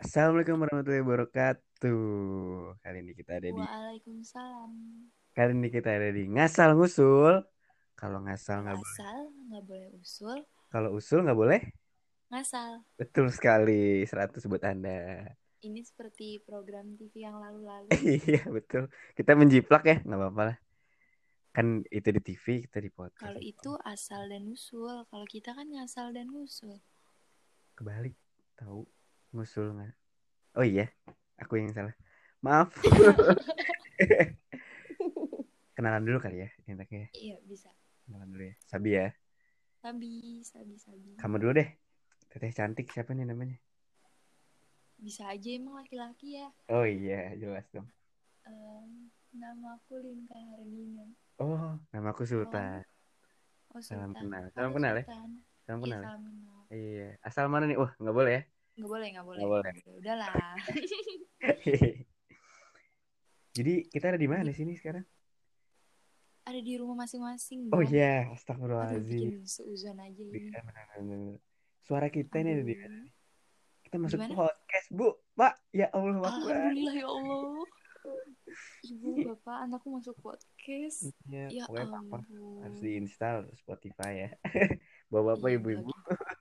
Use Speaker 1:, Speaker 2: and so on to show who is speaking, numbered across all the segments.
Speaker 1: Assalamualaikum warahmatullahi wabarakatuh. Kali ini kita ada di
Speaker 2: Waalaikumsalam.
Speaker 1: kali ini kita ada di ngasal ngusul. Kalau ngasal nggak boleh,
Speaker 2: Ngasal nggak boleh usul,
Speaker 1: kalau usul nggak boleh.
Speaker 2: ngasal.
Speaker 1: Betul sekali, 100 buat Anda.
Speaker 2: Ini seperti program TV yang lalu-lalu.
Speaker 1: Iya, betul. Kita menjiplak ya, nggak apa-apa lah. Kan itu di TV, kita di podcast.
Speaker 2: Kalau itu asal dan usul, kalau kita kan ngasal dan usul.
Speaker 1: kebalik, tahu ngusul nggak? Oh iya, aku yang salah. Maaf. Kenalan dulu kali ya, enaknya.
Speaker 2: Iya bisa.
Speaker 1: Kenalan dulu ya. Sabi ya.
Speaker 2: Sabi, sabi, sabi.
Speaker 1: Kamu dulu deh. Teteh cantik siapa nih namanya?
Speaker 2: Bisa aja emang laki-laki ya.
Speaker 1: Oh iya, jelas dong.
Speaker 2: Em, nama aku Linka Hardina.
Speaker 1: Oh, nama aku Sultan.
Speaker 2: Oh,
Speaker 1: Salam
Speaker 2: Sultan.
Speaker 1: kenal.
Speaker 2: Halo,
Speaker 1: Salam kenal ya.
Speaker 2: Sultan.
Speaker 1: Salam
Speaker 2: Iya,
Speaker 1: kenal. ya?
Speaker 2: salam kenal.
Speaker 1: Iya. Asal mana nih? Wah, nggak boleh ya.
Speaker 2: Nggak boleh, nggak boleh.
Speaker 1: Nggak boleh.
Speaker 2: Ya Udahlah.
Speaker 1: Jadi kita ada di mana
Speaker 2: Iya.
Speaker 1: sini sekarang?
Speaker 2: Ada di rumah masing-masing.
Speaker 1: Oh
Speaker 2: dong.
Speaker 1: iya,
Speaker 2: Aduh,
Speaker 1: astagfirullahaladzim. Iya,
Speaker 2: bikin seuzon aja ini.
Speaker 1: Bener, bener, bener. Suara kita ini ada di
Speaker 2: Aduh.
Speaker 1: kita masuk
Speaker 2: Gimana?
Speaker 1: podcast, Bu. Pak, ya Allah, Akbar.
Speaker 2: Alhamdulillah ya Allah. Ibu, bapak, anakku masuk podcast.
Speaker 1: Iya,
Speaker 2: Ya
Speaker 1: pokoknya papa
Speaker 2: ampun.
Speaker 1: harus diinstal Spotify ya. Bapak-bapak,
Speaker 2: Iya,
Speaker 1: ibu-ibu.
Speaker 2: Bahagia,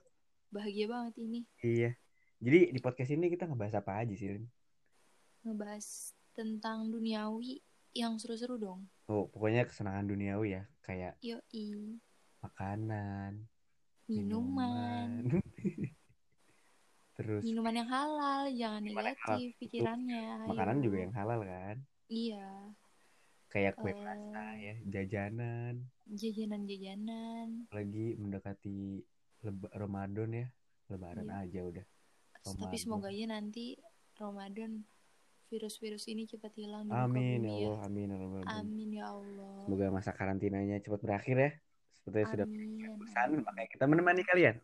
Speaker 2: bahagia banget ini
Speaker 1: Iya. Jadi di podcast ini kita ngebahas apa aja sih, Lin?
Speaker 2: ngebahas tentang duniawi yang seru-seru dong.
Speaker 1: Oh, pokoknya kesenangan duniawi ya, kayak
Speaker 2: Yoi,
Speaker 1: makanan,
Speaker 2: minuman. Iya,
Speaker 1: minuman. Terus
Speaker 2: Minuman yang halal, jangan
Speaker 1: Minuman yang
Speaker 2: negatif pikirannya. ayo.
Speaker 1: makanan juga yang halal kan?
Speaker 2: Iya,
Speaker 1: Kayak kue
Speaker 2: Eh.
Speaker 1: pasta ya, jajanan,
Speaker 2: jajanan-jajanan.
Speaker 1: lagi mendekati leba- Ramadan ya. Lebaran
Speaker 2: Iya.
Speaker 1: aja udah.
Speaker 2: Tapi
Speaker 1: Ramadan.
Speaker 2: semoga aja nanti Ramadan virus-virus ini cepat hilang di muka
Speaker 1: Amin ya
Speaker 2: bumi ya.
Speaker 1: Allah, amin ya Rabbal Alamin.
Speaker 2: Amin ya Allah.
Speaker 1: Semoga masa karantinanya cepat berakhir ya. Seperti sudah
Speaker 2: Amin.
Speaker 1: pesan,
Speaker 2: amin.
Speaker 1: makanya kita menemani kalian.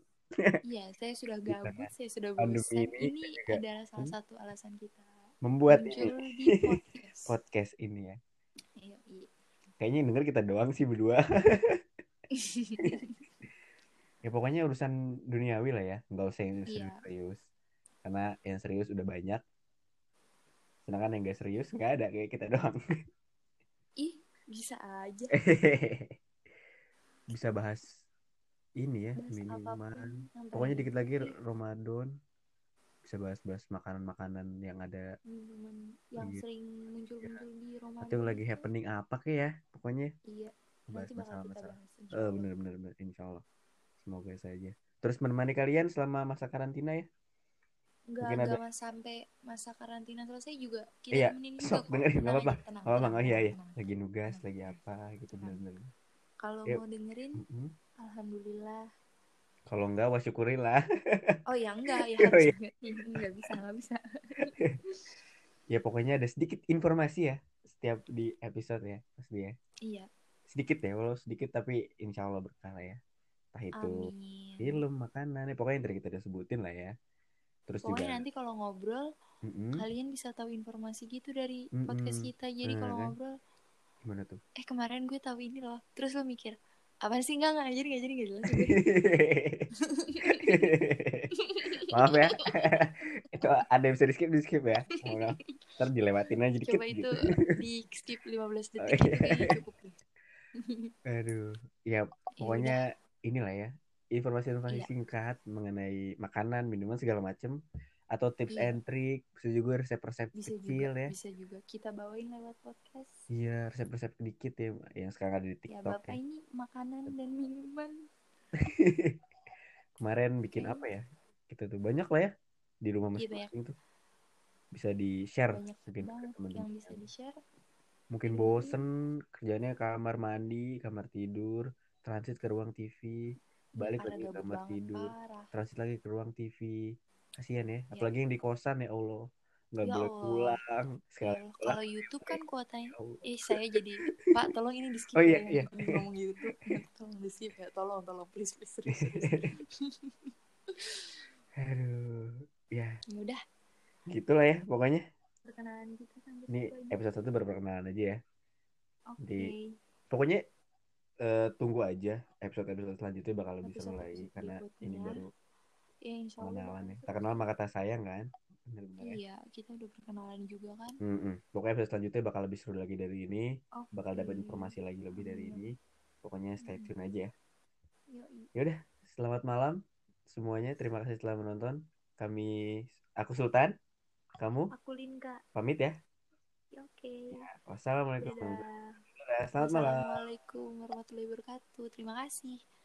Speaker 2: Iya, saya sudah
Speaker 1: Kita
Speaker 2: gabut, saya sudah
Speaker 1: Pandemi
Speaker 2: bosan.
Speaker 1: ini
Speaker 2: Ini
Speaker 1: juga-
Speaker 2: adalah salah
Speaker 1: Hmm?
Speaker 2: satu alasan kita
Speaker 1: Membuat ini
Speaker 2: muncul di podcast.
Speaker 1: podcast ini ya.
Speaker 2: Iya, iya.
Speaker 1: Kayaknya yang denger kita doang sih berdua. Ya pokoknya urusan duniawi lah ya, nggak usah yang
Speaker 2: Iya.
Speaker 1: serius. Karena yang serius udah banyak. Sedangkan yang gak serius nggak ada kayak kita doang.
Speaker 2: Ih, bisa aja.
Speaker 1: Bisa bahas ini ya,
Speaker 2: Bahas apapun
Speaker 1: minuman.
Speaker 2: yang
Speaker 1: Pokoknya
Speaker 2: terjadi.
Speaker 1: dikit lagi Ramadan bisa bahas-bahas makanan-makanan yang ada
Speaker 2: Minuman yang
Speaker 1: Iya.
Speaker 2: sering muncul-muncul di Ramadan.
Speaker 1: atau yang lagi
Speaker 2: itu.
Speaker 1: happening apa ke ya. Pokoknya
Speaker 2: Iya,
Speaker 1: bahas
Speaker 2: nanti bakal kita
Speaker 1: masalah-masalah.
Speaker 2: bahas. insya
Speaker 1: Eh
Speaker 2: Allah.
Speaker 1: bener bener bener insya Allah. Semoga saja. Terus menemani kalian selama masa karantina ya.
Speaker 2: Nggak,
Speaker 1: Mungkin
Speaker 2: nggak mas- sampai masa karantina selesai juga. Kita
Speaker 1: Iya,
Speaker 2: temenin juga
Speaker 1: Sok
Speaker 2: kok.
Speaker 1: dengerin
Speaker 2: Tenang
Speaker 1: nggak apa-apa.
Speaker 2: aja, tenang,
Speaker 1: Nggak apa-apa
Speaker 2: tenang,
Speaker 1: nggak iya
Speaker 2: tenang,
Speaker 1: ya.
Speaker 2: tenang.
Speaker 1: Lagi nugas,
Speaker 2: Tenang,
Speaker 1: lagi
Speaker 2: tenang.
Speaker 1: apa gitu bener
Speaker 2: Tenang.
Speaker 1: bener.
Speaker 2: Kalau
Speaker 1: Yuk.
Speaker 2: mau dengerin,
Speaker 1: Mm-mm.
Speaker 2: alhamdulillah.
Speaker 1: Kalau enggak wah syukurilah.
Speaker 2: Oh ya enggak, ya
Speaker 1: Iya,
Speaker 2: harus
Speaker 1: iya.
Speaker 2: enggak. Enggak bisa, enggak bisa.
Speaker 1: Ya pokoknya ada sedikit informasi ya setiap di episode ya pasti ya.
Speaker 2: Iya,
Speaker 1: Sedikit ya, walau sedikit tapi insya Allah berkah lah ya. Entah itu
Speaker 2: amin.
Speaker 1: film, makanan, ya pokoknya yang tadi kita udah sebutin lah ya. Terus juga
Speaker 2: Pokoknya nanti kalau ngobrol,
Speaker 1: Mm-mm.
Speaker 2: kalian bisa tahu informasi gitu dari
Speaker 1: Mm-mm.
Speaker 2: podcast kita. Jadi
Speaker 1: Nah,
Speaker 2: kalau
Speaker 1: kan.
Speaker 2: ngobrol,
Speaker 1: gimana tuh?
Speaker 2: eh kemarin gue tahu ini loh. Terus lo mikir, apa sih enggak enggak jadi enggak jadi enggak jelas. gue."
Speaker 1: Maaf ya. itu ada yang bisa di skip di skip ya. Mohon maaf. Ntar dilewatin aja dikit. gitu.
Speaker 2: Coba itu di skip 15
Speaker 1: Oh,
Speaker 2: detik itu
Speaker 1: iya.
Speaker 2: kayaknya cukup nih.
Speaker 1: Aduh. Ya pokoknya inilah ya. Informasi-informasi
Speaker 2: Iya.
Speaker 1: singkat mengenai makanan, minuman segala macem atau tips
Speaker 2: Iya.
Speaker 1: and trick, bisa juga resep-resep
Speaker 2: Bisa
Speaker 1: kecil
Speaker 2: juga,
Speaker 1: ya.
Speaker 2: bisa juga kita bawain lewat podcast.
Speaker 1: Iya, resep-resep dikit ya yang sekarang ada di
Speaker 2: Ya,
Speaker 1: TikTok
Speaker 2: Bapak
Speaker 1: ya.
Speaker 2: ini makanan dan minuman.
Speaker 1: Kemarin bikin apa ya? Kita tuh banyak lah ya di rumah
Speaker 2: Iya,
Speaker 1: masing-masing tuh bisa di-share
Speaker 2: Banyak
Speaker 1: mungkin ke
Speaker 2: banget
Speaker 1: teman-teman.
Speaker 2: yang bisa di-share. Iya.
Speaker 1: Mungkin
Speaker 2: Aduh.
Speaker 1: bosen kerjanya kamar mandi, kamar tidur, transit ke ruang TV, balik
Speaker 2: Parah
Speaker 1: lagi ke
Speaker 2: gabut
Speaker 1: kamar
Speaker 2: banget,
Speaker 1: tidur,
Speaker 2: parah.
Speaker 1: transit lagi ke ruang TV. Kasihan ya, apalagi yang di kosan ya Allah. Nggak
Speaker 2: Iya. Ya
Speaker 1: boleh
Speaker 2: Allah.
Speaker 1: pulang.
Speaker 2: Ya
Speaker 1: Sekali
Speaker 2: Allah,
Speaker 1: pulang.
Speaker 2: Kalau YouTube kan kuotanya
Speaker 1: ya Allah.
Speaker 2: Eh saya jadi Pak tolong ini di skip
Speaker 1: Oh iya,
Speaker 2: ya
Speaker 1: iya.
Speaker 2: Jadi ngomong YouTube Tolong di skip ya Tolong tolong please please serius serius
Speaker 1: Aduh. Ya,
Speaker 2: Ya Udah
Speaker 1: gitulah ya pokoknya.
Speaker 2: perkenalan kita sampai
Speaker 1: Ini
Speaker 2: situ aja.
Speaker 1: episode 1 berperkenalan aja ya.
Speaker 2: Oke
Speaker 1: di- Pokoknya eh, tunggu aja episode-episode selanjutnya bakal lebih seru
Speaker 2: Episode
Speaker 1: lagi
Speaker 2: episode
Speaker 1: karena ini
Speaker 2: berikutnya. gitu.
Speaker 1: baru
Speaker 2: Ya insya Allah
Speaker 1: pengenalan
Speaker 2: bakal
Speaker 1: ya.
Speaker 2: seru.
Speaker 1: Tak kenal maka tak sayang kan. benar-benar ya.
Speaker 2: Iya, kita udah perkenalan juga kan.
Speaker 1: Mm-mm. Pokoknya episode selanjutnya bakal lebih seru lagi dari ini,
Speaker 2: Oke.
Speaker 1: bakal dapat informasi lagi lebih dari ini. Pokoknya stay
Speaker 2: Mm.
Speaker 1: tune aja ya.
Speaker 2: Yoi.
Speaker 1: Selamat malam semuanya. Terima kasih telah menonton. Kami aku Sultan, kamu
Speaker 2: Aku Linka.
Speaker 1: pamit ya.
Speaker 2: Ya, Oke.
Speaker 1: Wassalamualaikum.
Speaker 2: Dadah.
Speaker 1: Iya, Selamat malam.
Speaker 2: Assalamualaikum warahmatullahi wabarakatuh. Terima kasih.